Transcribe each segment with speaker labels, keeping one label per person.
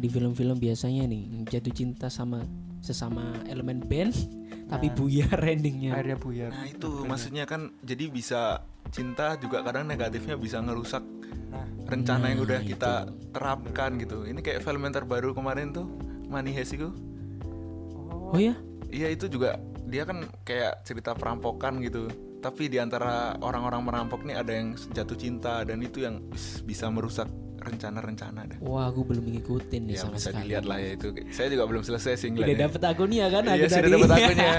Speaker 1: film-film biasanya nih jatuh cinta sama sesama elemen band tapi
Speaker 2: Nah.
Speaker 1: buyar endingnya.
Speaker 2: akhirnya buyar
Speaker 3: Nah itu maksudnya kan jadi bisa cinta juga kadang negatifnya bisa ngerusak
Speaker 2: nah
Speaker 3: rencana yang
Speaker 1: Nah,
Speaker 3: udah kita terapkan gitu. Ini kayak film yang terbaru kemarin tuh Money Heist itu.
Speaker 1: Oh ya?
Speaker 3: Iya itu juga dia kan kayak cerita perampokan gitu. Tapi di antara orang-orang merampok nih ada yang jatuh cinta dan itu yang is, bisa merusak rencana-rencana dah.
Speaker 1: Wah, aku belum ngikutin nih
Speaker 3: Ya
Speaker 1: Iya, sama
Speaker 3: bisa
Speaker 1: sekali.
Speaker 3: dilihat lah ya itu. Saya juga belum selesai sih
Speaker 1: Udah
Speaker 3: ngeliatnya.
Speaker 1: dapet akunnya kan
Speaker 3: Iya,
Speaker 1: aku
Speaker 3: sudah
Speaker 1: tadi.
Speaker 3: dapat akunnya.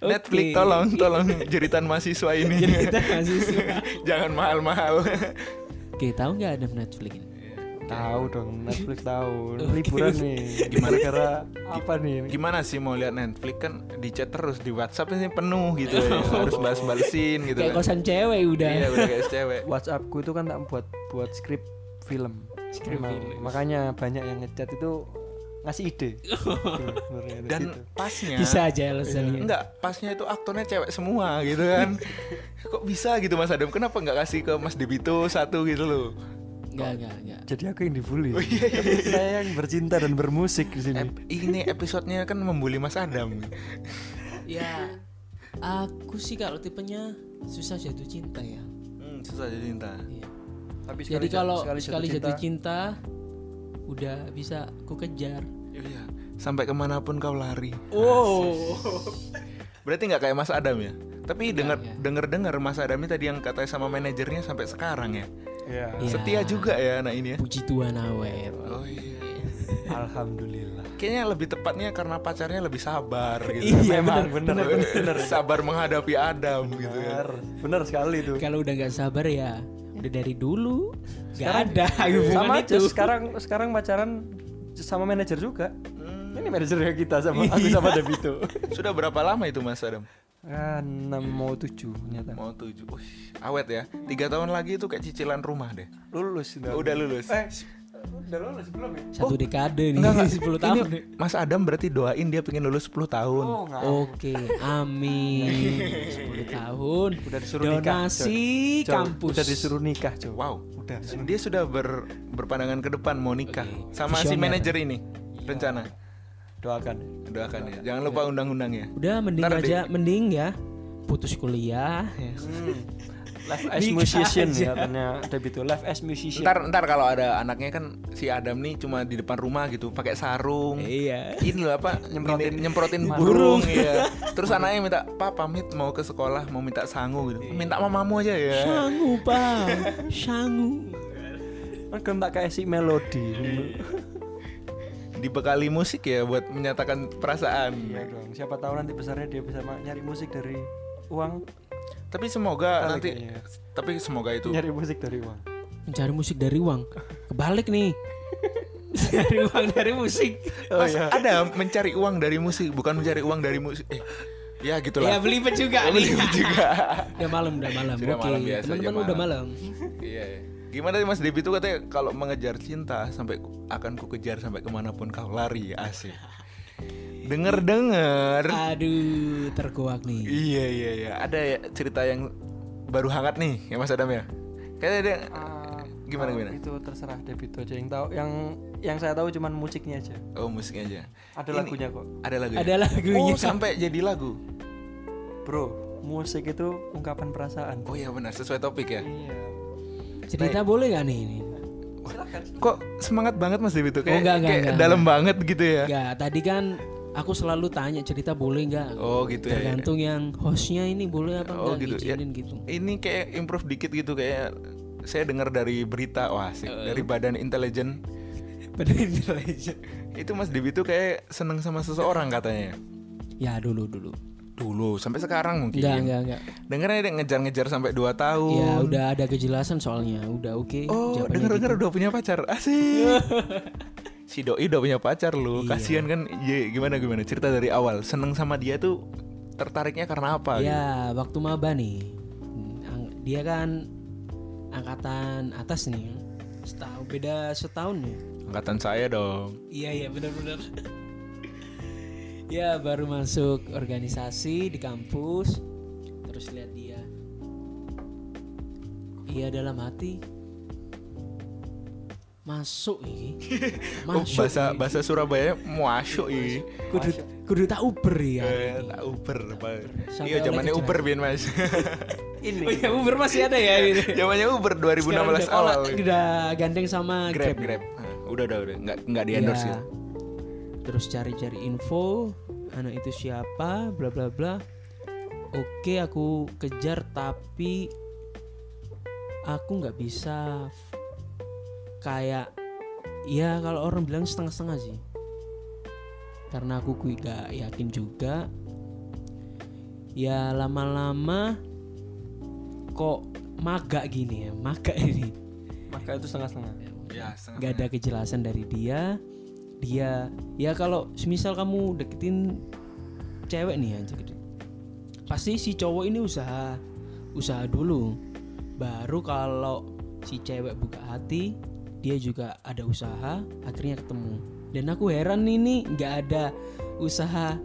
Speaker 1: Oke.
Speaker 3: Netflix tolong tolong jeritan mahasiswa ini.
Speaker 1: Jadi kita mahasiswa.
Speaker 3: Jangan mahal-mahal.
Speaker 1: Oke, tahu nggak ada Netflix ini?
Speaker 2: tahu dong Netflix tahu liburan nih gimana gara apa nih
Speaker 3: Gimana sih mau lihat Netflix kan di chat terus di WhatsApp ini penuh gitu ya. harus balas-balesin gitu
Speaker 1: Kayak
Speaker 3: kan.
Speaker 1: kosan cewek udah.
Speaker 3: Iya udah kayak cewek.
Speaker 2: WhatsAppku itu kan tak buat buat skrip film iya.
Speaker 1: Skrip
Speaker 2: Emang,
Speaker 1: film.
Speaker 2: makanya banyak yang ngechat itu ngasih ide Gitu, sebenarnya itu
Speaker 3: Dan
Speaker 2: gitu.
Speaker 3: pasnya Iya.
Speaker 1: Bisa aja alasannya.
Speaker 3: Enggak, pasnya itu aktornya cewek semua gitu kan. Kok bisa gitu Mas Adam? Kenapa nggak kasih ke Mas Debito satu gitu loh?
Speaker 1: Enggak, enggak, enggak.
Speaker 2: jadi aku yang dibully saya yang bercinta dan bermusik di sini
Speaker 3: Ep- ini episodenya kan membuli Mas Adam.
Speaker 1: Ya, aku sih kalau tipenya susah jatuh cinta ya.
Speaker 3: Hmm, susah jadi cinta.
Speaker 1: Iya.
Speaker 2: tapi
Speaker 1: Jadi kalau sekali, jatuh cinta, udah bisa ku kejar.
Speaker 3: Iya. Sampai kemanapun kau lari.
Speaker 1: Wow.
Speaker 3: Berarti nggak kayak Mas Adam ya? Tapi dengar
Speaker 1: ya.
Speaker 3: dengar dengar Mas Adam ini tadi yang katanya sama manajernya sampai sekarang ya.
Speaker 2: ya
Speaker 1: Iya.
Speaker 3: Setia juga ya anak ini ya.
Speaker 1: Puji Tuhan awet.
Speaker 3: Oh iya.
Speaker 2: alhamdulillah
Speaker 3: Kayaknya lebih tepatnya karena pacarnya lebih sabar gitu.
Speaker 1: Iya
Speaker 2: Memang,
Speaker 1: bener,
Speaker 2: bener,
Speaker 1: bener.
Speaker 3: sabar menghadapi Adam gitu kan.
Speaker 2: benar benar sekali itu
Speaker 1: Kalau udah nggak sabar ya udah dari dulu nggak
Speaker 2: Sekarang-
Speaker 1: ada hubungan
Speaker 2: sama aja
Speaker 1: itu.
Speaker 2: sekarang sekarang pacaran sama manajer juga Iya. ini manajernya kita sama aku sama Devito
Speaker 3: Sudah berapa lama itu Mas Adam?
Speaker 2: ah enam mau tujuh ternyata
Speaker 3: Mau tujuh. Ush, awet ya. Tiga tahun lagi itu kayak cicilan rumah deh.
Speaker 2: lulus udah
Speaker 3: Udah lulus.
Speaker 2: eh udah lulus belum ya
Speaker 1: Satu dekade nih,
Speaker 3: Enggak,
Speaker 1: 10
Speaker 3: enggak. Ini
Speaker 1: tahun.
Speaker 3: Mas Adam berarti doain dia pengen lulus 10 tahun.
Speaker 2: oh nggak
Speaker 1: Oke, amin. 10 tahun.
Speaker 2: udah disuruh nikah
Speaker 1: Donasi
Speaker 2: Jo. Jo,
Speaker 1: kampus.
Speaker 2: udah disuruh nikah Jo
Speaker 3: Wow.
Speaker 2: udah
Speaker 3: Dia sudah ber- berpandangan ke depan mau nikah
Speaker 1: Oke.
Speaker 3: sama si
Speaker 1: Visioner.
Speaker 3: manajer ini. Rencana.
Speaker 2: doakan
Speaker 3: Doakan ya. Jangan lupa undang-undang ya.
Speaker 1: Udah mending
Speaker 3: Ntar deh.
Speaker 1: aja, mending ya putus kuliah. ya.
Speaker 2: live as
Speaker 1: Nikah
Speaker 2: musician
Speaker 1: aja.
Speaker 2: katanya Devito live as musician
Speaker 3: Ntar ntar kalau ada anaknya kan si Adam nih cuma di depan rumah gitu pakai sarung.
Speaker 1: Iya.
Speaker 3: Ini loh apa
Speaker 2: Nyemprotin-
Speaker 3: ini- nyemprotin
Speaker 2: burung.
Speaker 3: burung, ya. Terus anaknya minta "Pa, pamit mau ke sekolah, mau minta sangu gitu.
Speaker 2: Iya.
Speaker 3: Minta mamamu aja ya.
Speaker 1: Sangu, Pak. Sangu.
Speaker 2: kan kan tak kasih melodi
Speaker 3: dibekali musik ya buat menyatakan perasaan.
Speaker 2: iya dong siapa tahu nanti besarnya dia bisa ma- nyari musik dari uang
Speaker 3: Tapi semoga
Speaker 2: Kali
Speaker 3: nanti
Speaker 2: kayaknya. Iya.
Speaker 3: tapi semoga itu
Speaker 2: nyari musik dari uang
Speaker 1: Mencari musik dari uang. Kebalik nih. Dari uang dari musik.
Speaker 2: Oh,
Speaker 3: Mas,
Speaker 2: iya.
Speaker 3: ada mencari uang dari musik bukan mencari uang dari musik. Eh,
Speaker 2: Iya,
Speaker 3: ya
Speaker 1: Ya
Speaker 3: gitulah.
Speaker 1: beli juga nih.
Speaker 3: juga.
Speaker 1: Udah malam, udah malam.
Speaker 3: Sudah
Speaker 1: Oke,
Speaker 3: malam biasa,
Speaker 1: teman-teman
Speaker 3: jam
Speaker 1: udah
Speaker 3: malam.
Speaker 1: malam.
Speaker 3: Iya. iya. Gimana sih Mas Debi itu katanya kalau mengejar cinta sampai ku- akan ku kejar sampai kemanapun kau lari asik. Denger
Speaker 1: Ah.
Speaker 3: denger.
Speaker 1: Aduh, terkuak nih.
Speaker 3: Iya iya iya. Ada ya cerita yang baru hangat nih ya Mas Adam ya. Kayaknya dia
Speaker 1: Ah,
Speaker 2: Eh,
Speaker 3: gimana
Speaker 2: Kalau
Speaker 3: gimana?
Speaker 2: itu terserah Devito aja yang tahu yang yang saya tahu cuman musiknya aja
Speaker 3: Oh musiknya aja.
Speaker 2: ada
Speaker 3: Ini-
Speaker 2: lagunya kok
Speaker 3: Ada lagu. ya?
Speaker 1: Ada lagunya.
Speaker 3: Oh sampai jadi lagu.
Speaker 2: bro musik itu ungkapan perasaan
Speaker 3: Oh iya benar sesuai topik ya.
Speaker 2: iya
Speaker 1: Cerita boleh gak nih ini?
Speaker 2: silakan
Speaker 3: Kok semangat banget Mas Dewi tuh
Speaker 1: Oh,
Speaker 3: kayak,
Speaker 1: enggak, enggak,
Speaker 3: kayak
Speaker 1: enggak,
Speaker 3: dalam banget gitu ya.
Speaker 1: Enggak, tadi kan aku selalu tanya cerita boleh nggak?
Speaker 3: Oh gitu ya.
Speaker 1: Tergantung yang hostnya ini boleh apa
Speaker 3: Oh,
Speaker 1: enggak
Speaker 3: gitu, ya.
Speaker 1: ngizinin gitu.
Speaker 3: Ini kayak improve dikit gitu kayak saya dengar dari berita wah asik, dari badan intelijen
Speaker 1: Benerin dulu aja.
Speaker 3: itu Mas Dewi tuh kayak seneng sama seseorang katanya.
Speaker 1: Ya dulu dulu.
Speaker 3: Dulu sampai sekarang mungkin.
Speaker 1: Enggak enggak enggak.
Speaker 3: Dengarnya dia ngejar-ngejar sampai 2
Speaker 1: Ya
Speaker 3: tahun.
Speaker 1: udah ada kejelasan soalnya. Udah oke.
Speaker 3: Oh,
Speaker 1: jawabannya
Speaker 3: denger-denger
Speaker 1: gitu.
Speaker 3: udah punya pacar. Asik. si doi udah punya pacar lu.
Speaker 1: Iya.
Speaker 3: Kasihan kan. Ye, gimana gimana cerita dari awal. Seneng sama dia tuh tertariknya karena apa? gitu?
Speaker 1: Ya waktu maba nih. Hmm, ang- Dia kan angkatan atas nih. ya. Setahun beda setahun ya.
Speaker 3: Angkatan saya dong.
Speaker 1: Iya iya benar-benar. ya baru masuk organisasi di kampus, terus lihat dia. Iya dalam hati. masuk iki.
Speaker 3: Oh,
Speaker 1: Masuk.
Speaker 3: bahasa
Speaker 1: iki.
Speaker 3: bahasa Surabaya muasyuk iki.
Speaker 1: kudu kudu tak uber ya.
Speaker 3: Eh, tak Uber, Pak.
Speaker 1: Sampai
Speaker 3: Iya,
Speaker 1: oleh
Speaker 3: zamannya
Speaker 1: kejelasan.
Speaker 3: Uber bin Mas.
Speaker 2: ini
Speaker 1: Oh iya, uber masih ada ya ini.
Speaker 3: Zamannya Uber
Speaker 1: Sekarang
Speaker 3: 2016
Speaker 1: udah-
Speaker 3: awal.
Speaker 1: oh, udah gandeng sama
Speaker 3: iya. Grab, Grab. Ah, Udah, udah, udah. Enggak enggak di
Speaker 1: Iya.
Speaker 3: endorse ya.
Speaker 1: Terus cari-cari info anak itu siapa, bla bla bla. Oke, aku kejar tapi aku nggak bisa f- kayak ya kalau orang bilang setengah-setengah sih. Karena aku kui- nggak yakin juga. Ya lama-lama kok magak gini ya, magak ini
Speaker 2: maka itu setengah-setengah
Speaker 3: Ya, setengah.
Speaker 1: nggak ada kejelasan dari dia dia ya kalau semisal kamu deketin cewek nih aja gitu pasti si cowok ini usaha usaha dulu baru kalau si cewek buka hati dia juga ada usaha akhirnya ketemu dan aku heran nih, ini nggak ada usaha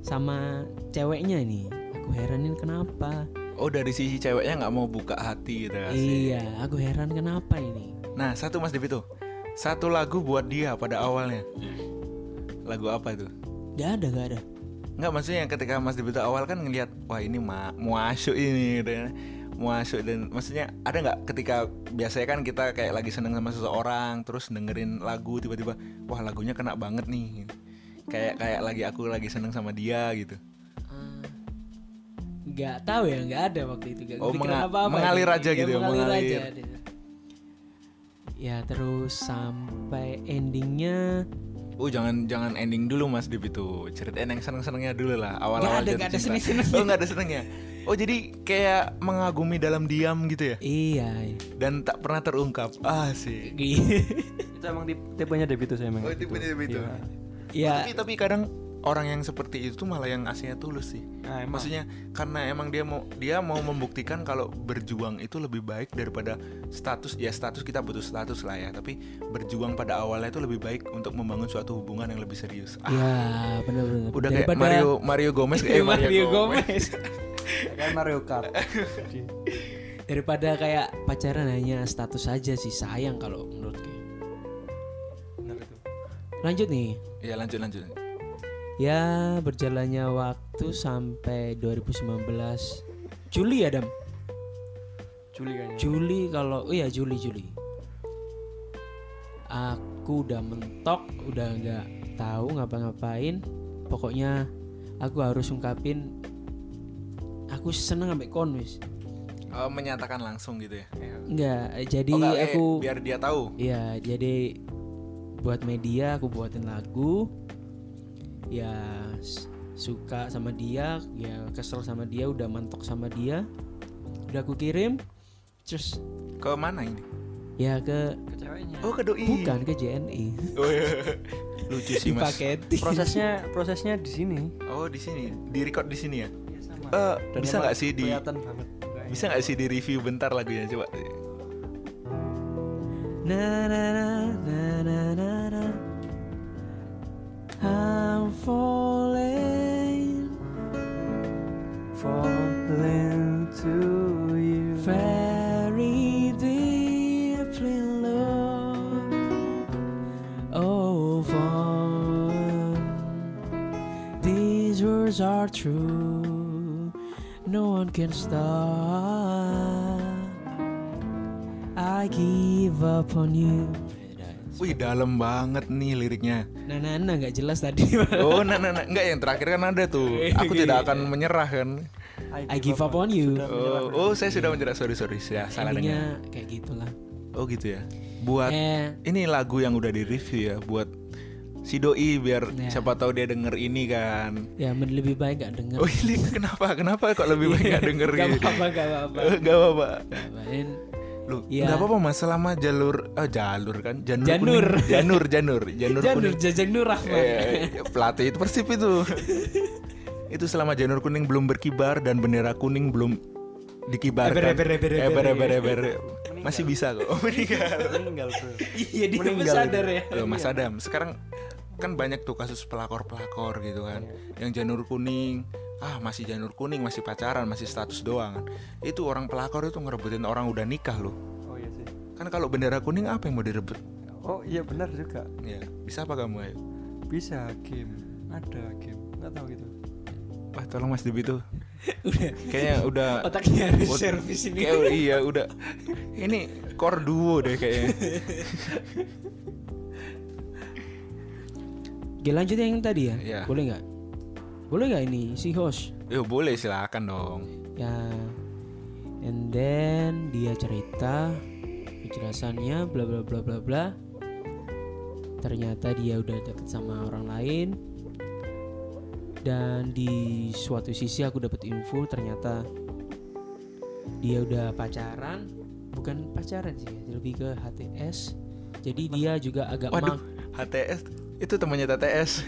Speaker 1: sama ceweknya ini aku heranin kenapa
Speaker 3: Oh, dari sisi ceweknya nggak mau buka hati gitu. asik.
Speaker 1: iya aku heran kenapa ini
Speaker 3: Nah, satu Mas Devito. Satu lagu buat dia pada awalnya. Lagu apa itu?
Speaker 1: nggak ada nggak ada
Speaker 3: Enggak maksudnya ketika Mas Devito awal kan ngelihat wah ini ma muasuk ini dan muasuk dan maksudnya ada nggak ketika biasanya kan kita kayak lagi seneng sama seseorang terus dengerin lagu tiba-tiba wah lagunya kena banget nih gitu. kayak kayak lagi aku lagi seneng sama dia gitu
Speaker 1: Eh, nggak tahu ya nggak ada waktu itu nggak
Speaker 3: Oh,
Speaker 1: kepikiran
Speaker 3: menga-
Speaker 1: apa-apa
Speaker 3: mengalir
Speaker 1: ini.
Speaker 3: aja gitu ya,
Speaker 1: mengalir,
Speaker 3: mengalir.
Speaker 1: aja dia. ya terus sampai endingnya
Speaker 3: Oh jangan jangan ending dulu Mas Dip itu ceritain yang seneng senengnya dulu lah awal
Speaker 1: Nggak
Speaker 3: awal
Speaker 1: ada, nggak ada seneng-senengnya.
Speaker 3: oh nggak ada senengnya oh jadi kayak mengagumi dalam diam gitu ya
Speaker 1: iya
Speaker 3: dan tak pernah terungkap ah sih
Speaker 2: itu emang tip- tipenya Debito saya emang
Speaker 3: Oh, tipenya Debito.
Speaker 2: Iya.
Speaker 1: ya
Speaker 3: tapi tapi kadang orang yang seperti itu malah yang aslinya tulus sih
Speaker 2: nah, emang
Speaker 3: maksudnya karena emang dia mau dia mau membuktikan kalau berjuang itu lebih baik daripada status ya status kita butuh status lah ya tapi berjuang pada awalnya itu lebih baik untuk membangun suatu hubungan yang lebih serius ah,
Speaker 1: ya benar-benar
Speaker 3: udah kayak Mario Mario Gomez eh Mario, Gomez
Speaker 2: kan Mario Kart Jadi,
Speaker 1: daripada kayak pacaran hanya status saja sih sayang kalau menurutku
Speaker 2: benar itu
Speaker 1: lanjut nih
Speaker 3: ya lanjut lanjut
Speaker 1: ya berjalannya waktu sampai 2019 Juli Adam
Speaker 2: Juli kayaknya
Speaker 1: Juli kalau oh iya Juli Juli aku udah mentok udah nggak tahu ngapa-ngapain pokoknya aku harus ungkapin aku seneng sampai konwis
Speaker 3: Oh, menyatakan langsung gitu ya
Speaker 2: Iya.
Speaker 1: nggak eh, jadi
Speaker 3: Oh, nggak, eh,
Speaker 1: aku
Speaker 3: biar dia tahu
Speaker 1: Iya, jadi buat media aku buatin lagu. Ya s- suka sama dia, ya kesel sama dia, udah mantok sama dia. Udah aku kirim. Terus
Speaker 3: ke mana ini
Speaker 1: ya ke
Speaker 2: ke ceweknya
Speaker 3: oh ke doi
Speaker 1: bukan ke JNI.
Speaker 3: Oh, iya. lucu sih mas
Speaker 1: Dipaketin.
Speaker 2: prosesnya prosesnya di sini
Speaker 3: oh di sini di record di sini ya
Speaker 2: Iya, sama.
Speaker 3: Eh,
Speaker 2: Dan
Speaker 3: bisa
Speaker 2: emang
Speaker 3: nggak sih di
Speaker 2: kelihatan banget mukanya.
Speaker 3: bisa nggak sih di review bentar lagunya coba
Speaker 1: Na na na na na na na. I'm falling
Speaker 2: falling to you
Speaker 1: very deeply in love. Oh, fun. These words are true. No one can stop. I give up on you.
Speaker 3: Wih dalam banget nih liriknya.
Speaker 1: Nah, nah, nah, nggak jelas tadi.
Speaker 3: Oh, nah, nah, nah. enggak yang terakhir kan ada tuh.
Speaker 1: Iya,
Speaker 3: Aku tidak akan menyerah kan.
Speaker 1: I give up on you.
Speaker 2: Sudah menyerah
Speaker 3: Oh, oh, saya sudah menyerah. Sorry, sorry. Ya, salah dengar.
Speaker 1: Endingnya kayak gitulah.
Speaker 3: Oh, gitu ya. Buat
Speaker 1: Eh,
Speaker 3: ini lagu yang udah di review ya buat si doi biar
Speaker 1: Ya.
Speaker 3: siapa tahu dia denger ini kan.
Speaker 1: ya lebih baik nggak denger.
Speaker 3: Oh, ini kenapa? Kenapa kok lebih banyak denger
Speaker 1: Iya. Nggak
Speaker 3: gitu?
Speaker 1: apa-apa, nggak apa-apa.
Speaker 3: Eh, Nggak apa-apa.
Speaker 1: Nggak apa-apa.
Speaker 3: Lu,
Speaker 1: Iya.
Speaker 3: nggak apa-apa Mas selama jalur eh, jalur kan? Janur.
Speaker 1: Janur.
Speaker 3: kuning. Janur, janur, janur,
Speaker 1: Janur
Speaker 3: kuning.
Speaker 1: Jajang Nur Rahman.
Speaker 3: Eh, pelatih itu persib itu. itu selama janur kuning belum berkibar dan bendera kuning belum dikibarkan.
Speaker 1: Eber, eber, eber, eber.
Speaker 3: Eber, eber, eber. Masih bisa kok. Oh, meninggal.
Speaker 2: meninggal bro
Speaker 1: Iya dia
Speaker 2: Meninggal
Speaker 1: nggak sadar ya.
Speaker 3: Loh, Mas Adam, sekarang kan banyak tuh kasus pelakor-pelakor gitu kan.
Speaker 1: Iya.
Speaker 3: Yang janur kuning, ah masih janur kuning, masih pacaran, masih status doang. kan. Itu orang pelakor itu ngerebutin orang udah nikah loh.
Speaker 2: oh iya sih
Speaker 3: Kan kalau bendera kuning apa yang mau direbut?
Speaker 2: oh iya benar juga
Speaker 3: ya bisa apa kamu ayo
Speaker 2: bisa game ada game nggak tahu gitu
Speaker 3: wah tolong mas Debi tuh
Speaker 1: udah Oh,
Speaker 3: kayaknya udah
Speaker 1: otaknya harus
Speaker 3: Ot-
Speaker 1: servis ini
Speaker 3: kayak iya udah ini core duo deh kayaknya
Speaker 1: Oke lanjut yang tadi ya
Speaker 3: Iya.
Speaker 1: Boleh nggak? Boleh nggak ini si host?
Speaker 3: yo boleh silakan dong
Speaker 1: Ya And then dia cerita Penjelasannya bla bla bla bla bla Ternyata dia udah deket sama orang lain Dan di suatu sisi aku dapat info ternyata Dia udah pacaran Bukan pacaran sih Lebih ke HTS Jadi dia juga agak
Speaker 3: waduh
Speaker 1: mag-
Speaker 3: HTS itu temannya TTS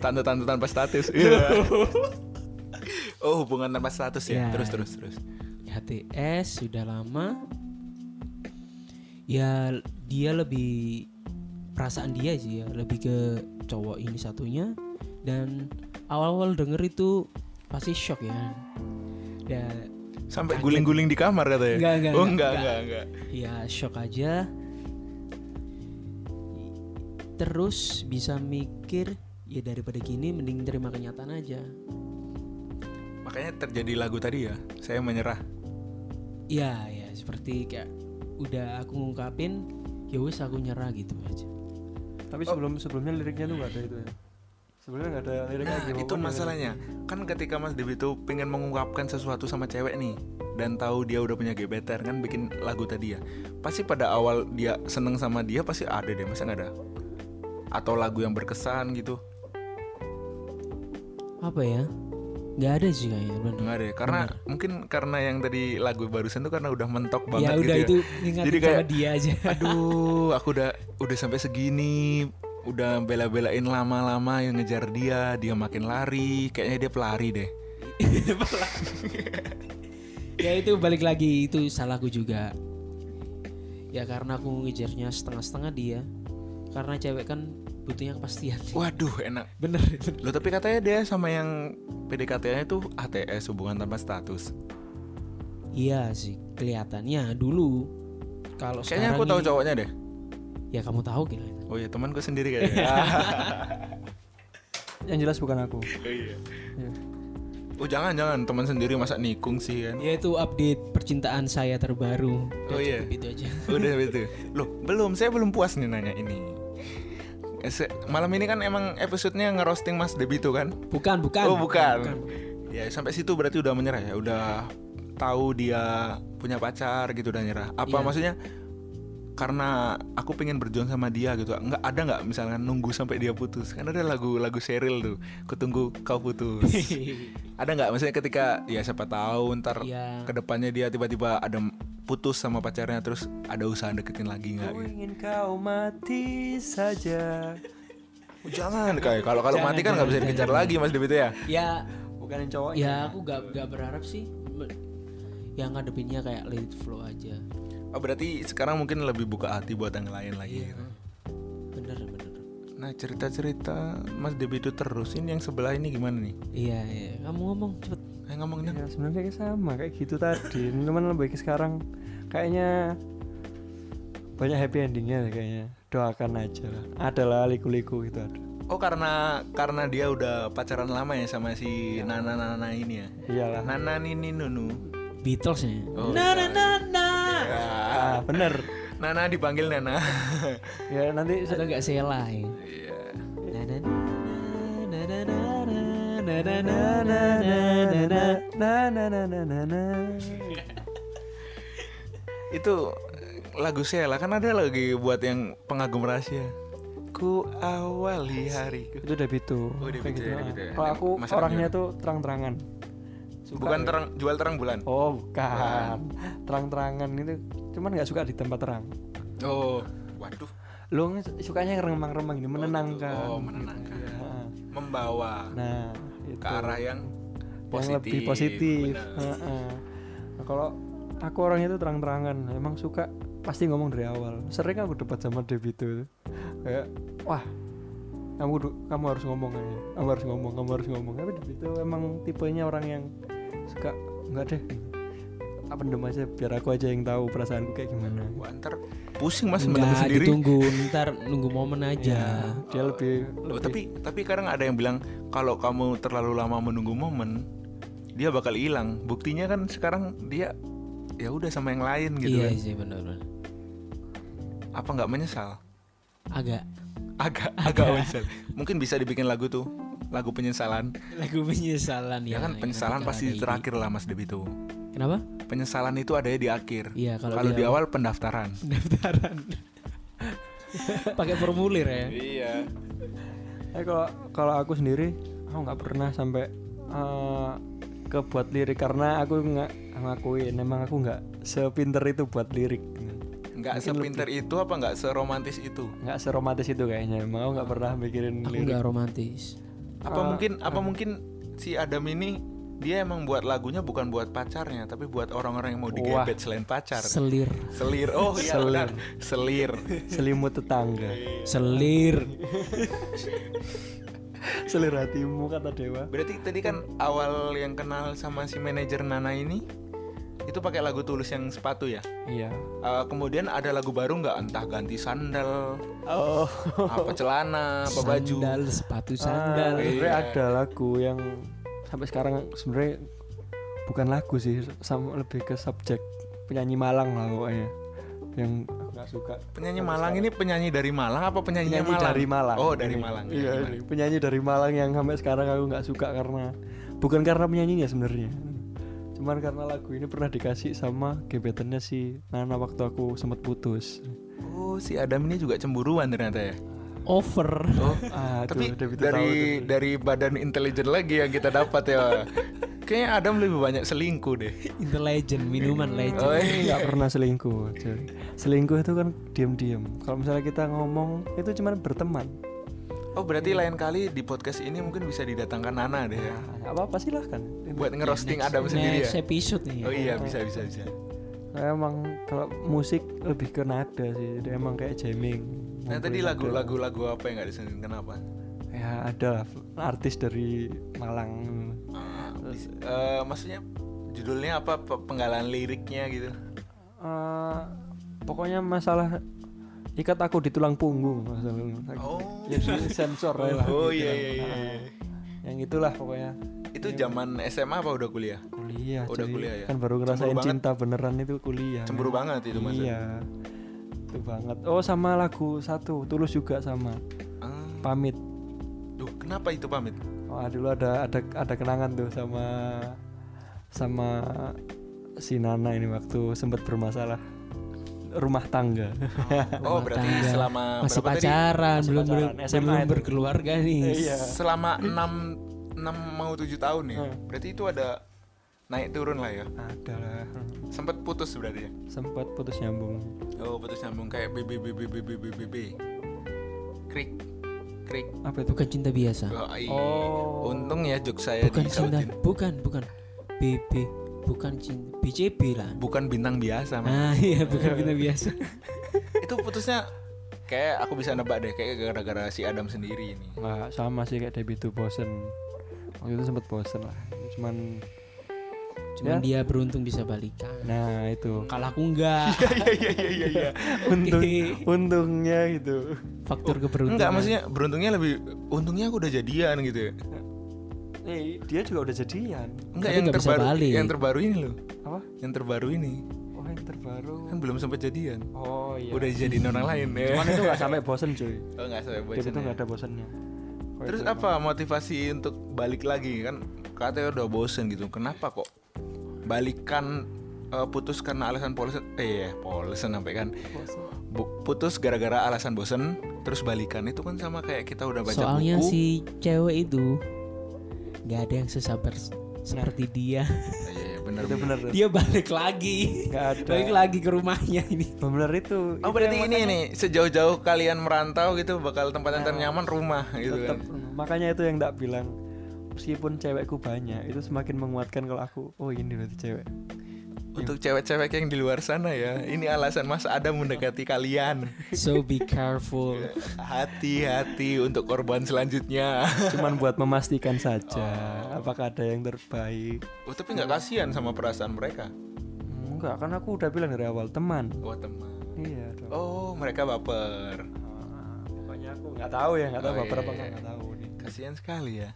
Speaker 3: tante-tante tanpa status Iya. oh hubungan tanpa status
Speaker 1: Ya.
Speaker 3: ya terus terus terus
Speaker 1: HTS sudah lama ya dia lebih perasaan dia sih ya lebih ke cowok ini satunya dan awal-awal denger itu pasti shock ya dan
Speaker 3: sampai
Speaker 1: Kaget.
Speaker 3: guling-guling di kamar katanya
Speaker 1: Enggak, enggak,
Speaker 3: oh
Speaker 1: enggak,
Speaker 3: enggak enggak enggak,
Speaker 1: ya shock aja terus bisa mikir ya daripada gini mending terima kenyataan aja
Speaker 3: makanya terjadi lagu tadi ya saya menyerah
Speaker 1: ya ya seperti kayak udah aku ngungkapin ya wes aku nyerah gitu aja
Speaker 3: Oh.
Speaker 2: tapi sebelum sebelumnya liriknya tuh nggak ada itu ya sebelumnya nggak ada liriknya
Speaker 3: Nah,
Speaker 1: Iya,
Speaker 2: game
Speaker 3: itu
Speaker 2: apapun ya.
Speaker 3: masalahnya. Kan ketika Mas Debi itu pengen mengungkapkan sesuatu sama cewek nih dan tahu dia udah punya gebetan kan bikin lagu tadi ya. Pasti pada awal dia seneng sama dia pasti ada deh, masa nggak ada? Atau lagu yang berkesan gitu?
Speaker 1: apa ya nggak ada sih kayaknya bener.
Speaker 3: Enggak deh, karena mungkin karena yang tadi lagu barusan tuh karena udah mentok
Speaker 1: ya
Speaker 3: banget
Speaker 1: udah
Speaker 3: gitu. ya.
Speaker 1: itu ingat
Speaker 3: Jadi
Speaker 1: sama
Speaker 3: kayak-
Speaker 1: dia aja
Speaker 3: Aduh, aku udah udah sampai segini, udah bela-belain lama-lama yang ngejar dia, dia makin lari, kayaknya dia pelari deh.
Speaker 1: ya itu balik lagi itu salahku juga ya karena aku ngejarnya setengah-setengah dia karena cewek kan butuhnya kepastian
Speaker 3: Waduh, enak
Speaker 1: bener
Speaker 3: Loh tapi katanya dia sama yang PDKT-nya itu ATS hubungan tanpa status.
Speaker 1: iya sih kelihatannya dulu kalau
Speaker 3: Kayaknya
Speaker 1: sekarang
Speaker 3: aku tahu
Speaker 1: ini-
Speaker 3: cowoknya deh.
Speaker 1: ya kamu tahu kayaknya
Speaker 3: Oh iya temanku sendiri
Speaker 1: Iya.
Speaker 3: kayaknya.
Speaker 2: yang jelas bukan aku
Speaker 3: oh, iya.
Speaker 2: Iya.
Speaker 3: oh jangan jangan teman sendiri masa nikung sih kan.
Speaker 1: ya itu update percintaan saya terbaru Udah
Speaker 3: Oh, iya.
Speaker 1: cukup itu aja
Speaker 3: Udah begitu. Loh belum saya belum puas nih nanya ini. Eh, se- Malam ini kan emang episodenya ngerosting Mas Debito kan?
Speaker 1: bukan bukan
Speaker 3: oh bukan. Ya sampai situ berarti udah menyerah ya, udah tahu dia punya pacar gitu udah nyerah.
Speaker 1: Iya.
Speaker 3: Apa maksudnya? Karena aku pengen berjuang sama dia gitu. Nggak ada nggak misalnya nunggu sampai dia putus. Kan ada lagu-lagu Seril tuh. Kutunggu kau putus. ada nggak maksudnya ketika ya siapa tahu ntar
Speaker 1: Iya.
Speaker 3: kedepannya dia tiba-tiba ada putus sama pacarnya terus ada usaha deketin lagi nggak?
Speaker 2: aku
Speaker 3: gitu.
Speaker 2: ingin kau mati saja
Speaker 3: Oh, Jangan kayak kalau kalau
Speaker 1: Jangan,
Speaker 3: mati kan nggak bisa
Speaker 1: jangan,
Speaker 3: dikejar
Speaker 1: jangan.
Speaker 3: lagi Mas Debito ya.
Speaker 1: ya
Speaker 2: bukan yang cowoknya
Speaker 1: ya aku gak gak berharap sih yang ngadepinnya kayak let it flow aja
Speaker 3: Oh, berarti sekarang mungkin lebih buka hati buat yang lain lagi.
Speaker 2: Iya.
Speaker 3: gitu.
Speaker 1: bener bener
Speaker 3: Nah cerita-cerita Mas Debi itu terus Ini yang sebelah ini gimana nih?
Speaker 1: iya iya kamu ngomong cepet
Speaker 3: Ayo ngomong dong
Speaker 2: ya sebenarnya kayak sama kayak gitu tadi cuman lebih ke sekarang kayaknya banyak happy endingnya deh kayaknya doakan aja lah adalah liku-liku gitu ada
Speaker 3: Oh karena karena dia udah pacaran lama ya sama si
Speaker 2: Iya.
Speaker 3: Nana Nana ini ya
Speaker 2: iyalah
Speaker 3: Nana Nini Nunu
Speaker 1: Beatles ya
Speaker 3: Oh,
Speaker 1: na na na na
Speaker 3: Ah,
Speaker 2: ah bener
Speaker 3: Nana dipanggil Nana
Speaker 2: ya nanti
Speaker 1: atau nggak Sheila ya
Speaker 3: Iya
Speaker 1: na na na na na na na na na na na na
Speaker 2: na na na na na na
Speaker 3: Itu eh, lagu Sheila kan ada lagi buat yang pengagum rahasia Ku awali hariku
Speaker 2: itu udah gitu
Speaker 3: Oh, udah
Speaker 2: Kayak
Speaker 3: gitu ya,
Speaker 2: ah.
Speaker 3: udah gitu ya.
Speaker 2: kalau aku
Speaker 3: Mas Arab
Speaker 2: orangnya tuh terang-terangan Suka
Speaker 3: Bukan
Speaker 2: ya.
Speaker 3: terang, jual terang bulan
Speaker 2: oh bukan terang-terangan itu cuman nggak suka di tempat terang
Speaker 3: Oh waduh
Speaker 2: lo sukanya yang remang-remang ini menenangkan
Speaker 3: Oh menenangkan
Speaker 2: Ah.
Speaker 3: Membawa
Speaker 2: nah itu
Speaker 3: ke arah yang
Speaker 2: yang
Speaker 3: positif,
Speaker 2: lebih positif
Speaker 3: benar.
Speaker 2: Heeh. Nah, kalau aku orangnya itu terang-terangan emang suka pasti ngomong dari awal sering aku debat sama Debito kayak wah kamu du- kamu harus ngomong aja kamu harus ngomong kamu harus ngomong tapi Debito emang tipenya orang yang suka enggak deh tak pendem aja biar aku aja yang tahu perasaanku kayak gimana
Speaker 3: Wah, ntar pusing mas mendem
Speaker 1: Enggak,
Speaker 3: sendiri.
Speaker 1: ditunggu ntar nunggu momen aja
Speaker 2: dia
Speaker 3: Oh,
Speaker 2: lebih,
Speaker 3: Loh,
Speaker 2: lebih
Speaker 3: tapi tapi kadang ada yang bilang kalau kamu terlalu lama menunggu momen, dia bakal hilang. Buktinya kan sekarang dia ya udah sama yang lain gitu
Speaker 1: iya
Speaker 3: kan.
Speaker 1: sih benar-benar
Speaker 3: Apa nggak menyesal?
Speaker 1: agak
Speaker 3: Agak agak menyesal. Mungkin bisa dibikin lagu tuh, lagu penyesalan.
Speaker 1: lagu penyesalan
Speaker 3: Ya, kan
Speaker 1: yang
Speaker 3: penyesalan
Speaker 1: ketika
Speaker 3: pasti
Speaker 1: ada
Speaker 3: di
Speaker 1: ide.
Speaker 3: terakhir lah Mas Debi tuh.
Speaker 1: kenapa
Speaker 3: Penyesalan itu adanya di akhir.
Speaker 1: iya kalau,
Speaker 3: Kalau di
Speaker 1: dia
Speaker 3: awal pendaftaran.
Speaker 1: pendaftaran pakai formulir ya
Speaker 3: Iya.
Speaker 2: Eh kalau kalau aku sendiri, aku nggak pernah sampai eh, ke buat lirik karena aku nggak ngakuin, emang aku nggak sepinter itu buat lirik,
Speaker 3: Nggak sepinter itu apa nggak seromantis itu?
Speaker 2: nggak seromantis itu kayaknya. Emang aku nggak pernah mikirin
Speaker 1: aku
Speaker 2: lirik.
Speaker 1: nggak romantis
Speaker 3: Apa
Speaker 2: Ah,
Speaker 3: mungkin apa mungkin si Adam ini dia emang buat lagunya bukan buat pacarnya tapi buat orang-orang yang mau digebet selain pacar.
Speaker 1: selir
Speaker 3: Selir. Oh iya
Speaker 2: Selir.
Speaker 3: benar. Selir.
Speaker 2: Selimut tetangga,
Speaker 1: selir
Speaker 2: selir hatimu kata dewa.
Speaker 3: Berarti tadi kan awal yang kenal sama si manajer Nana ini itu pakai lagu tulus yang sepatu ya.
Speaker 2: Iya.
Speaker 3: Eh, kemudian ada lagu baru nggak entah ganti sandal,
Speaker 2: Oh.
Speaker 3: apa celana, apa baju. Ah.
Speaker 1: sandal sepatu
Speaker 2: Sandal.
Speaker 1: sandal
Speaker 3: Iya.
Speaker 2: Nah, ada lagu yang sampai sekarang sebenarnya bukan lagu sih, sama lebih ke subjek penyanyi Malang lah pokoknya yang aku nggak suka.
Speaker 3: Penyanyi Malang ini penyanyi dari Malang apa penyanyinya
Speaker 2: penyanyi
Speaker 3: Malang?
Speaker 2: dari Malang.
Speaker 3: Oh, dari Malang.
Speaker 2: Iya, ini penyanyi dari Malang yang sampai sekarang aku nggak suka karena bukan karena penyanyinya sebenarnya. Cuman karena lagu ini pernah dikasih sama gebetannya si Nana waktu aku sempat putus.
Speaker 3: Oh, si Adam ini juga cemburuan ternyata ya.
Speaker 1: over
Speaker 3: Oh,
Speaker 2: Ah,
Speaker 3: tapi
Speaker 2: aduh, udah gitu
Speaker 3: dari
Speaker 2: tahu tuh.
Speaker 3: dari badan intelijen lagi yang kita dapat ya. Kayaknya Adam lebih banyak selingkuh deh.
Speaker 1: intelijen minuman legend
Speaker 3: Oh,
Speaker 2: Ini nggak pernah selingkuh. Jadi, selingkuh itu kan diam-diam. Kalau misalnya kita ngomong itu cuman berteman.
Speaker 3: Oh, berarti lain kali di podcast ini mungkin bisa didatangkan Nana deh ya.
Speaker 2: Ah, nggak apa-apa silahkan.
Speaker 3: Buat ngerosting Adam sendiri ya.
Speaker 1: next episode nih
Speaker 3: Oh iya, bisa bisa bisa.
Speaker 2: Emang kalau musik lebih ke nada sih. Jadi emang kayak jamming.
Speaker 3: Nah, tadi lagu-lagu lagu apa yang nggak disebutin kenapa?
Speaker 2: Ya ada artis dari Malang.
Speaker 3: Ah, bis- eh, maksudnya judulnya apa pe- penggalan liriknya gitu.
Speaker 2: Eh, pokoknya masalah ikat aku di tulang punggung masalah.
Speaker 3: Oh.
Speaker 2: Ya, di sensor ya lah.
Speaker 3: Oh iya iya iya.
Speaker 2: Yang itulah pokoknya
Speaker 3: Itu zaman SMA apa udah kuliah?
Speaker 2: kuliah.
Speaker 3: Udah
Speaker 2: cuy.
Speaker 3: kuliah ya?
Speaker 2: Kan baru ngerasain
Speaker 3: Cemburu banget.
Speaker 2: cinta beneran itu kuliah.
Speaker 3: Cemburu banget itu Mas. ya?
Speaker 2: Iya. Itu banget. Oh sama lagu satu tulus juga sama.
Speaker 3: Ah,
Speaker 2: Pamit.
Speaker 3: duh, kenapa itu pamit?
Speaker 2: Wah dulu ada ada ada kenangan tuh sama sama si Nana ini waktu sempat bermasalah rumah tangga.
Speaker 3: Oh, berarti
Speaker 1: tangga.
Speaker 3: selama
Speaker 1: masih
Speaker 3: berapa tadi?
Speaker 1: pacaran belum belum
Speaker 2: pacaran, SMA
Speaker 1: belum
Speaker 2: itu.
Speaker 1: berkeluarga
Speaker 3: Oh.
Speaker 1: nih
Speaker 2: Iya.
Speaker 3: Selama 6 enam mau 7 tahun ya.
Speaker 2: Hmm.
Speaker 3: Berarti itu ada naik turun lah ya.
Speaker 2: Ada lah.
Speaker 3: Sempet putus berarti ya.
Speaker 2: Sempat putus nyambung.
Speaker 3: Oh, putus nyambung kayak BB BB BB BB. Krik krik.
Speaker 2: Apa itu?
Speaker 1: bukan cinta biasa
Speaker 3: Oh, iya.
Speaker 2: Oh.
Speaker 3: Untung ya juk saya
Speaker 1: bukan cinta
Speaker 3: disautin.
Speaker 1: bukan bukan BB bukan cinta BCB lah
Speaker 3: Bukan bintang biasa, Mas.
Speaker 1: nah iya bukan cinta biasa
Speaker 3: itu putusnya kayak aku bisa nebak deh kayak gara-gara si Adam sendiri ini
Speaker 2: Nggak sama sih kayak Debbie tuh bosen. Waktu itu sempat bosen lah. Cuman
Speaker 1: cuman dia
Speaker 3: Ya.
Speaker 1: beruntung bisa balikan
Speaker 2: nah itu.
Speaker 1: kalau aku enggak
Speaker 3: iya iya iya iya
Speaker 2: Untung untungnya gitu.
Speaker 1: faktor keberuntungan
Speaker 3: enggak maksudnya beruntungnya lebih untungnya aku udah jadian gitu ya
Speaker 2: Eh, dia juga udah jadian.
Speaker 3: enggak
Speaker 1: Tapi
Speaker 3: yang
Speaker 1: nggak bisa
Speaker 3: terbaru
Speaker 1: balik.
Speaker 3: yang terbaru ini loh
Speaker 2: Apa?
Speaker 3: yang terbaru ini
Speaker 2: Oh, yang terbaru.
Speaker 3: kan belum sempat jadian
Speaker 2: Oh iya.
Speaker 3: udah jadiin orang lain ya
Speaker 2: Cuman itu nggak sampai bosen cuy.
Speaker 3: oh enggak sampai
Speaker 2: Dia
Speaker 3: bosan
Speaker 2: itu
Speaker 3: ya.
Speaker 2: nggak ada bosennya. Kok
Speaker 3: terus
Speaker 2: itu emang-
Speaker 3: apa motivasi untuk balik lagi kan katanya udah bosen gitu kenapa kok balikan eh, putus karena alasan polsen eh ya polsen sampai kan Bu- putus gara-gara alasan bosen terus balikan itu kan sama kayak kita udah baca
Speaker 1: soalnya
Speaker 3: buku
Speaker 1: si cewek itu nggak ada yang sesabar s- seperti dia
Speaker 3: Ah, iya iya, bener
Speaker 2: Itu
Speaker 3: bener.
Speaker 2: bener.
Speaker 1: dia balik lagi
Speaker 2: Nggak ada.
Speaker 1: balik lagi ke rumahnya ini
Speaker 2: Bener itu. Nah.
Speaker 3: oh berarti ini nih sejauh-jauh kalian merantau gitu bakal tempat yang ternyaman rumah gitu
Speaker 2: Tetap,
Speaker 3: kan
Speaker 2: makanya itu yang ndak bilang. Meskipun cewekku banyak, itu semakin menguatkan kalau aku, oh ini berarti cewek.
Speaker 3: untuk cewek-cewek yang di luar sana ya ini alasan mas Adam mendekati kalian
Speaker 1: so be careful
Speaker 3: hati-hati untuk korban selanjutnya
Speaker 2: Cuman buat memastikan Oh. saja apakah ada yang terbaik.
Speaker 3: oh tapi nggak kasihan sama perasaan mereka
Speaker 2: Hmm, Enggak, kan aku udah bilang dari awal teman.
Speaker 3: Oh teman.
Speaker 2: Iya dong.
Speaker 3: Oh mereka baper.
Speaker 2: Ah, pokoknya aku nggak tahu ya, nggak tahu
Speaker 3: Oh, iya,
Speaker 2: baper apa
Speaker 3: iya,
Speaker 2: nggak
Speaker 3: iya.
Speaker 2: nggak tahu nih.
Speaker 3: Kasihan sekali ya.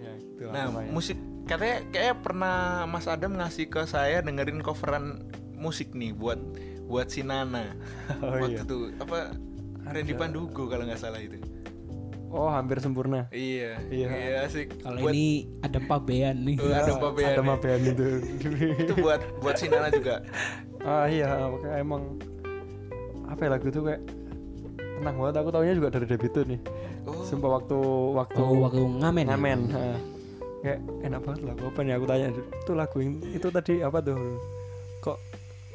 Speaker 2: Ya gitu lah
Speaker 3: Nah
Speaker 2: namanya.
Speaker 3: musik katanya kayak pernah Mas Adam ngasih ke saya dengerin coveran musik nih buat buat si Nana
Speaker 2: Oh,
Speaker 3: waktu
Speaker 2: iya.
Speaker 3: itu apa Randy
Speaker 2: Ada.
Speaker 3: Pandugo kalau nggak salah itu.
Speaker 2: Oh, hampir sempurna.
Speaker 3: Iya.
Speaker 2: Iya.
Speaker 3: sih.
Speaker 1: Kalau ini ada pabean nih.
Speaker 3: Eh, ada pabean.
Speaker 2: Ada ya? mabean itu.
Speaker 3: itu buat buat si Nana juga.
Speaker 2: ah iya, makanya emang apa ya lagu itu kayak tenang banget aku taunya juga dari debito nih.
Speaker 3: Oh.
Speaker 2: Sumpah waktu waktu
Speaker 1: Oh, waktu ngamen. ya?
Speaker 2: ngamen. ah. Kayak enak banget lagu apa nih aku tanya itu lagu yang- itu tadi apa tuh? Kok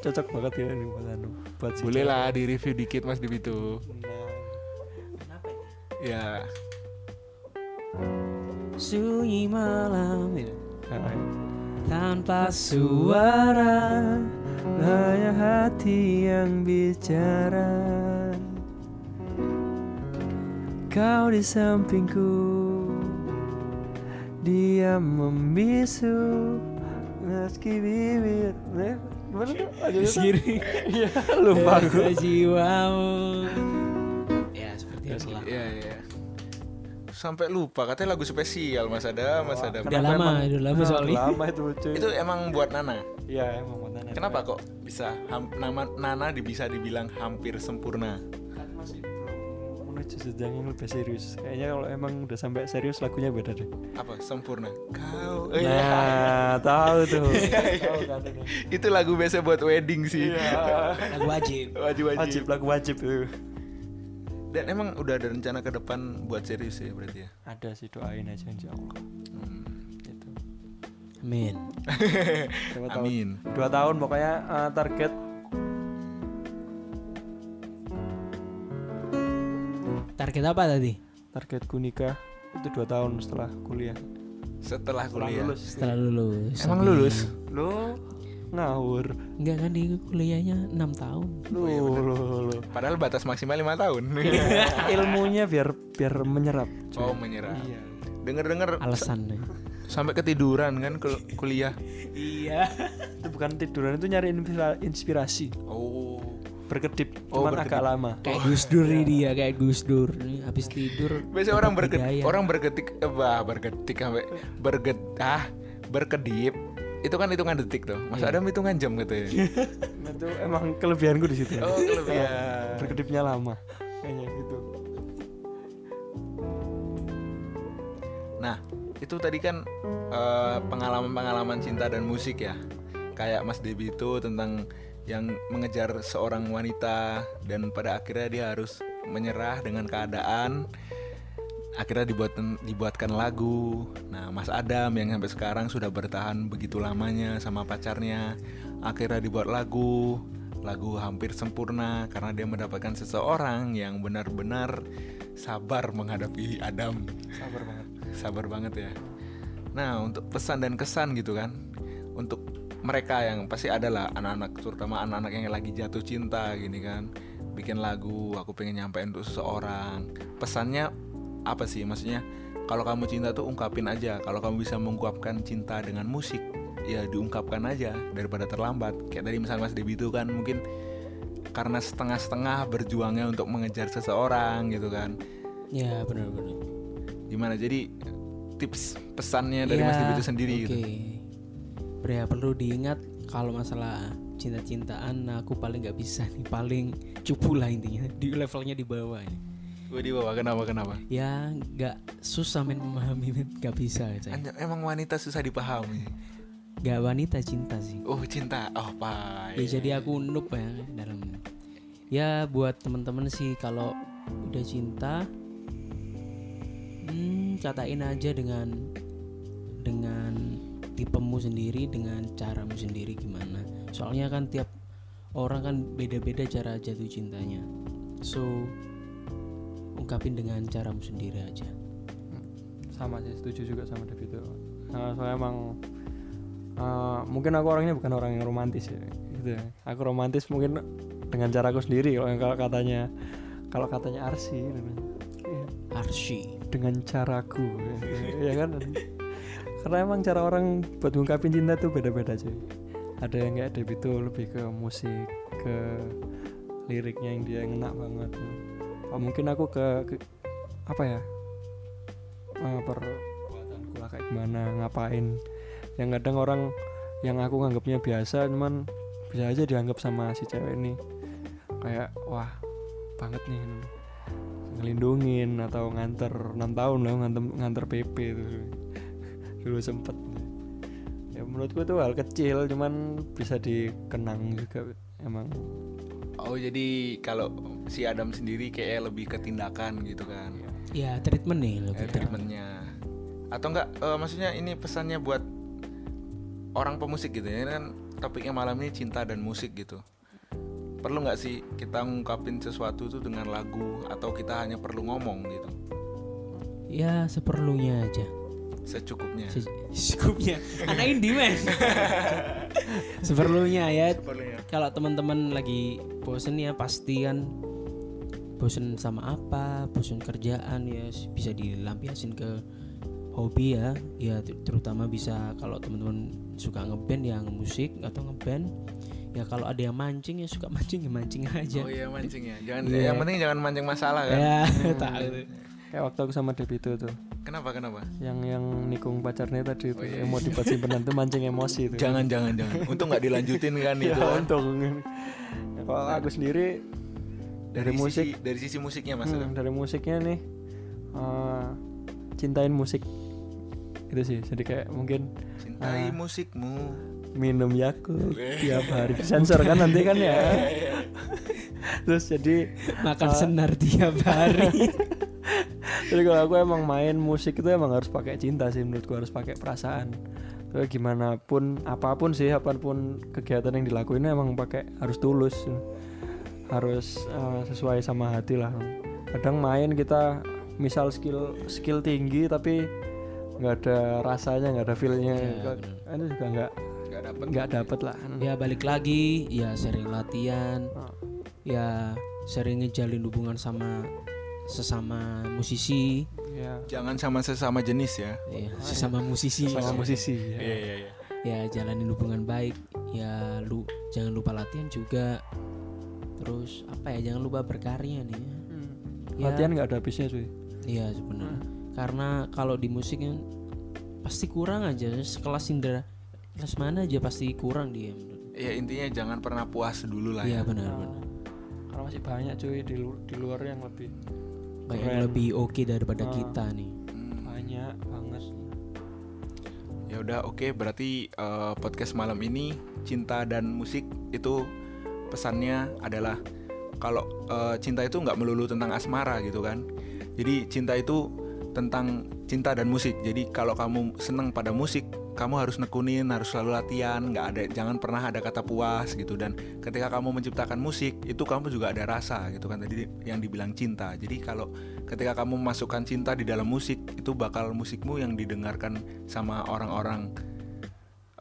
Speaker 2: cocok banget ya ini buat anu buat si
Speaker 3: Boleh lah di review dikit Mas Dibitu. Ya.
Speaker 1: Sunyi malam ya,
Speaker 2: Nah,
Speaker 1: tanpa suara.
Speaker 2: Suara hanya hati yang bicara Kau di sampingku Dia membisu Meski bibir Eh, Gimana tuh? Lagunya tuh? Iya lupa aku
Speaker 1: Jaga jiwamu. Ya seperti itulah.
Speaker 3: Iya iya. Sampai lupa katanya lagu spesial Mas Adam, Mas Adam.
Speaker 1: Udah lama, udah lama
Speaker 2: Ah,
Speaker 1: soalnya.
Speaker 2: Lama itu cuy
Speaker 3: Itu emang buat Nana.
Speaker 2: Iya emang mantan yang
Speaker 3: Kenapa kok bisa ham- nama Nana di- bisa dibilang hampir sempurna?
Speaker 2: kan masih belum menuju jenjang yang lebih serius kayaknya kalau emang udah sampai serius lagunya beda deh
Speaker 3: Apa? Sempurna. Kau.
Speaker 2: Oh,
Speaker 3: Eh,
Speaker 2: nah tahu tuh tahu kan ini
Speaker 3: Itu lagu biasa buat wedding sih.
Speaker 1: Lagu wajib.
Speaker 2: Iya.
Speaker 3: Wajib
Speaker 2: wajib
Speaker 3: wajib.
Speaker 2: lagu wajib itu
Speaker 3: Dan emang udah ada rencana ke depan buat serius ya berarti ya.
Speaker 2: ada sih doain aja insya Allah Gitu.
Speaker 3: Hmm.
Speaker 1: Amin.
Speaker 2: itu dua tahun
Speaker 3: Amin.
Speaker 2: dua tahun pokoknya eh, target
Speaker 1: Target apa tadi?
Speaker 2: targetku nikah itu dua tahun setelah kuliah
Speaker 3: Setelah
Speaker 2: setelah
Speaker 3: kuliah.
Speaker 2: lulus
Speaker 1: Setelah lulus.
Speaker 3: Emang
Speaker 1: Amin.
Speaker 3: lulus?
Speaker 2: lo ngawur
Speaker 1: Enggak kan di kuliahnya 6 tahun.
Speaker 2: lo lo lo
Speaker 3: Padahal batas maksimal lima tahun.
Speaker 2: Iya. ilmunya biar biar menyerap
Speaker 3: oh menyerah.
Speaker 2: iya
Speaker 3: Dengar-dengar
Speaker 1: Alasannya.
Speaker 3: sampai ketiduran kan kul- kuliah.
Speaker 1: iya.
Speaker 2: itu bukan tiduran itu nyari inspira- inspirasi
Speaker 3: Oh.
Speaker 2: berkedip
Speaker 3: Oh,
Speaker 2: cuman agak lama
Speaker 1: Kayak Gus Dur nih dia, kayak Gus Dur. Ini Habis tidur.
Speaker 3: Biasanya orang
Speaker 1: dapat
Speaker 3: berget,
Speaker 1: hidayah.
Speaker 3: orang bergetik, eh, bah bergetik sampai berget, ah berkedip. Itu kan hitungan detik tuh. Mas Adam hitungan jam gitu ya.
Speaker 2: Nah, itu emang kelebihanku di situ
Speaker 3: oh kelebihan.
Speaker 2: berkedipnya lama kayaknya gitu
Speaker 3: Nah itu tadi kan eh, pengalaman-pengalaman cinta dan musik ya. Kayak Mas Debi itu tentang yang mengejar seorang wanita dan pada akhirnya dia harus menyerah dengan keadaan. akhirnya dibuat dibuatkan lagu. Nah, Mas Adam yang sampai sekarang sudah bertahan begitu lamanya sama pacarnya, akhirnya dibuat lagu. Lagu hampir sempurna karena dia mendapatkan seseorang yang benar-benar sabar menghadapi Adam.
Speaker 2: sabar banget
Speaker 3: Sabar banget ya. Nah, untuk pesan dan kesan gitu kan. Untuk mereka yang pasti adalah anak-anak terutama anak-anak yang lagi jatuh cinta gini kan. Bikin lagu, aku pengen nyampein untuk seseorang. Pesannya apa sih maksudnya? Kalau kamu cinta tuh ungkapin aja. Kalau kamu bisa mengungkapkan cinta dengan musik, ya diungkapkan aja daripada terlambat. Kayak tadi misalnya Mas Debi itu kan mungkin karena setengah-setengah berjuangnya untuk mengejar seseorang gitu kan
Speaker 1: Ya benar-benar.
Speaker 3: gimana jadi tips pesannya dari
Speaker 1: Ya,
Speaker 3: Mas Dibi itu sendiri
Speaker 1: Oke.
Speaker 3: gitu
Speaker 1: Bre, perlu diingat kalau masalah cinta-cintaan aku paling nggak bisa nih paling cupu lah intinya di levelnya di bawah ini.
Speaker 3: gue di bawah kenapa kenapa
Speaker 1: ya nggak susah men memahami men nggak bisa saya
Speaker 3: Anjir, emang wanita susah dipahami
Speaker 1: nggak wanita cinta sih
Speaker 3: oh cinta oh pak
Speaker 1: ya jadi aku noob ya dalam ya buat temen-temen sih kalau udah cinta hmm, katain aja dengan dengan tipemu sendiri dengan caramu sendiri gimana soalnya kan tiap orang kan beda-beda cara jatuh cintanya so ungkapin dengan caramu sendiri aja
Speaker 2: sama sih setuju juga sama David itu nah, soalnya emang eh, mungkin aku orangnya bukan orang yang romantis ya gitu ya. aku romantis mungkin dengan caraku sendiri kalau kalau katanya kalau katanya Arsi namanya. Iya,
Speaker 1: Arsi
Speaker 2: dengan caraku ya, ya kan karena emang cara orang buat ngungkapin cinta tuh beda-beda cuy ada yang kayak Debito lebih ke musik ke liriknya yang dia ngena banget oh, mungkin aku ke, ke- apa ya eh, perbuatanku lah kayak gimana ngapain yang kadang orang yang aku nganggapnya biasa cuman bisa aja dianggap sama si cewek ini kayak wah banget nih ngelindungin atau nganter 6 tahun loh nganter nganter PP itu dulu sempet ya menurutku itu hal kecil cuman bisa dikenang juga emang
Speaker 3: Oh jadi kalau si Adam sendiri kayak lebih ke tindakan gitu kan
Speaker 1: ya treatment nih
Speaker 3: Eh,
Speaker 1: lebih
Speaker 3: treatmentnya atau enggak eh, maksudnya ini pesannya buat orang pemusik gitu ya Ini kan topiknya malam ini cinta dan musik gitu perlu nggak sih kita ngungkapin sesuatu itu dengan lagu atau kita hanya perlu ngomong gitu
Speaker 1: ya seperlunya aja
Speaker 3: secukupnya
Speaker 1: Se- secukupnya anak indie men seperlunya ya
Speaker 3: Seperlunya.
Speaker 1: kalau teman-teman lagi bosen ya pasti kan bosen sama apa bosen kerjaan ya s- bisa dilampiasin ke hobi ya ya ter- terutama bisa kalau teman-teman suka ngeband ya musik atau ngeband ya kalau ada yang mancing ya suka mancing ya mancing aja
Speaker 3: oh iya mancing ya jangan
Speaker 1: Iya.
Speaker 3: yang penting jangan mancing masalah kan
Speaker 1: ya tahu
Speaker 2: kayak waktu aku sama Debito tuh
Speaker 3: kenapa kenapa
Speaker 2: yang yang nikung pacarnya tadi itu emosi penantu mancing emosi itu
Speaker 3: jangan jangan jangan untung nggak dilanjutin kan itu
Speaker 2: ya
Speaker 3: kan.
Speaker 2: untung Ya, kalau aku sendiri
Speaker 3: dari,
Speaker 2: dari musik
Speaker 3: sisi, dari sisi musiknya mas
Speaker 2: hmm, dari musiknya nih eh, cintain musik itu sih jadi kayak mungkin
Speaker 3: cintai musikmu
Speaker 2: minum Yakult tiap hari sensor kan nanti kan
Speaker 3: Iya,
Speaker 2: ya terus jadi
Speaker 1: makan senar tiap hari
Speaker 2: jadi kalau aku emang main musik itu emang harus pakai cinta sih menurutku harus pakai perasaan Terus gimana pun apapun sih apapun kegiatan yang dilakuin emang pakai harus tulus harus eh, sesuai sama hati lah kadang main kita misal skill skill tinggi tapi nggak ada rasanya nggak ada feelnya itu kan juga nggak
Speaker 3: Iya, nggak dapet Iya.
Speaker 2: nggak dapet lah
Speaker 1: ya balik lagi ya sering latihan
Speaker 2: Ah.
Speaker 1: ya sering ngejalin hubungan sama sesama musisi
Speaker 2: ya
Speaker 3: jangan sama sesama jenis ya
Speaker 1: ya sesama musisi
Speaker 2: sama Oh, iya. musisi ya.
Speaker 3: iya iya iya
Speaker 1: ya jalanin hubungan baik ya lu jangan lupa latihan juga terus apa ya jangan lupa berkarya nih ya.
Speaker 2: Hmm.
Speaker 1: Ya.
Speaker 2: latihan nggak ada habisnya cuy
Speaker 1: Iya sebenarnya.
Speaker 2: Hmm.
Speaker 1: Karena kalau di musik kan pasti kurang aja sekelas Indra kelas mana aja pasti kurang dia. menurut.
Speaker 3: Ya intinya jangan pernah puas dulu lah
Speaker 1: Iya
Speaker 3: ya.
Speaker 1: benar
Speaker 2: Oh,
Speaker 1: benar.
Speaker 2: karena masih banyak cuy di, lu- di luar yang lebih
Speaker 1: Kayak yang
Speaker 2: Keren. Oh. Ya.
Speaker 1: lebih oke daripada kita nih.
Speaker 3: Hmm,
Speaker 2: banyak banget
Speaker 3: Ya udah oke berarti eh, podcast malam ini cinta dan musik itu pesannya adalah kalau eh, cinta itu nggak melulu tentang asmara gitu kan. Jadi cinta itu tentang cinta dan musik. Jadi kalau kamu seneng pada musik, kamu harus nekunin, harus selalu latihan, nggak ada jangan pernah ada kata puas gitu dan ketika kamu menciptakan musik itu kamu juga ada rasa gitu kan tadi yang dibilang cinta. Jadi kalau ketika kamu memasukkan cinta di dalam musik itu bakal musikmu yang didengarkan sama orang-orang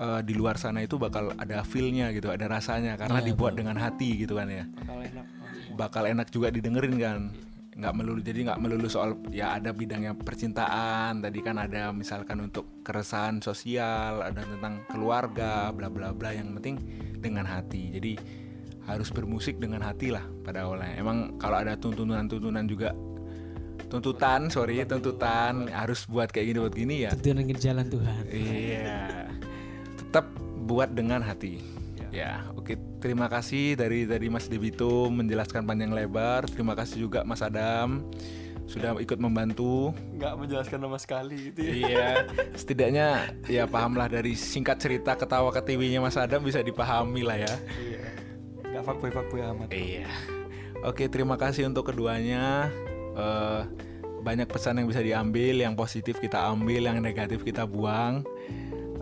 Speaker 3: eh, di luar sana itu bakal ada feel-nya gitu, ada rasanya karena
Speaker 1: Iya,
Speaker 3: dibuat dengan hati gitu kan ya
Speaker 2: bakal enak
Speaker 3: bakal enak juga didengerin kan nggak melulu jadi nggak melulu soal ya ada bidangnya percintaan tadi kan ada misalkan untuk keresahan sosial ada tentang keluarga bla bla bla yang penting dengan hati jadi harus bermusik dengan hati lah pada awalnya emang kalau ada tuntunan-tuntunan juga tuntutan sorry tuntutan harus buat kayak gini buat gini ya
Speaker 1: Tentuan ke jalan Tuhan.
Speaker 3: Iya. Tetap buat dengan hati. Ya, oke. Terima kasih dari dari Mas Debito menjelaskan panjang lebar. Terima kasih juga Mas Adam sudah ikut membantu.
Speaker 2: nggak menjelaskan sama sekali gitu ya
Speaker 3: Iya. Setidaknya ya pahamlah dari singkat cerita ketawa ketiwinya Mas Adam bisa dipahami lah ya.
Speaker 2: Iya. nggak fuckboy fuckboy amat
Speaker 3: Iya. Oke, terima kasih untuk keduanya. Eh, banyak pesan yang bisa diambil, yang positif kita ambil, yang negatif kita buang.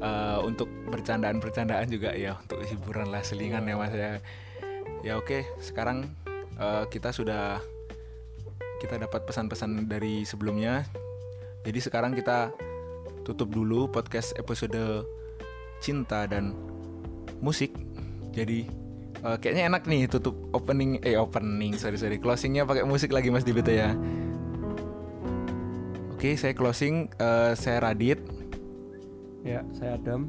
Speaker 3: Eh, untuk bercandaan-bercandaan juga ya, untuk hiburan lah selingan ya mas ya. Ya oke, sekarang eh, kita sudah kita dapat pesan-pesan dari sebelumnya. Jadi sekarang kita tutup dulu podcast episode cinta dan musik. Jadi eh, kayaknya enak nih tutup opening eh opening sorry sorry closingnya pakai musik lagi Mas Dibito ya. Oke saya closing eh, saya Radit.
Speaker 2: Iya. ya saya Adam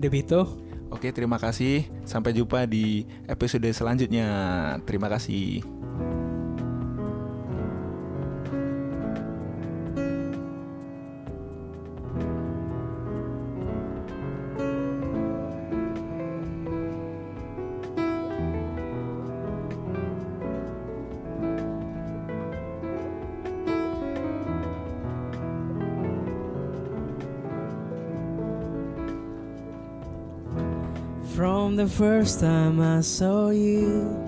Speaker 1: Debito.
Speaker 3: Oke, terima kasih. Sampai jumpa di episode selanjutnya. Terima kasih.
Speaker 1: From the first time I saw you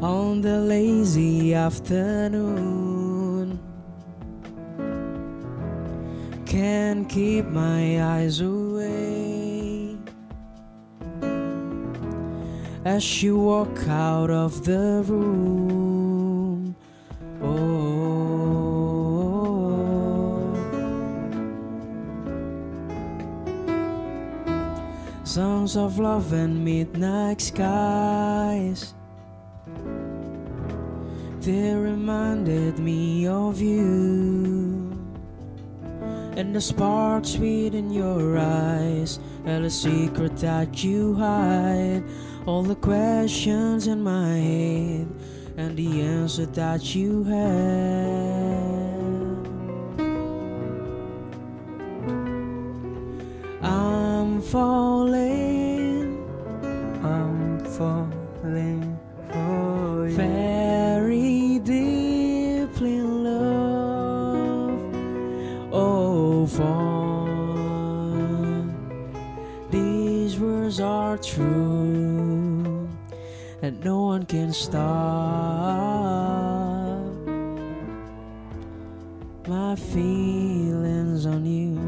Speaker 1: on the lazy afternoon, can't keep my eyes away as you walk out of the room. oh. Songs of love and midnight skies. They reminded me of you. And the spark sweet in your eyes. And the secret that you hide. All the questions in my head. And the answer that you have. I'm falling
Speaker 2: I'm falling for you.
Speaker 1: very deeply in love. Oh, fall. These words are true, and no one can stop my feelings on you.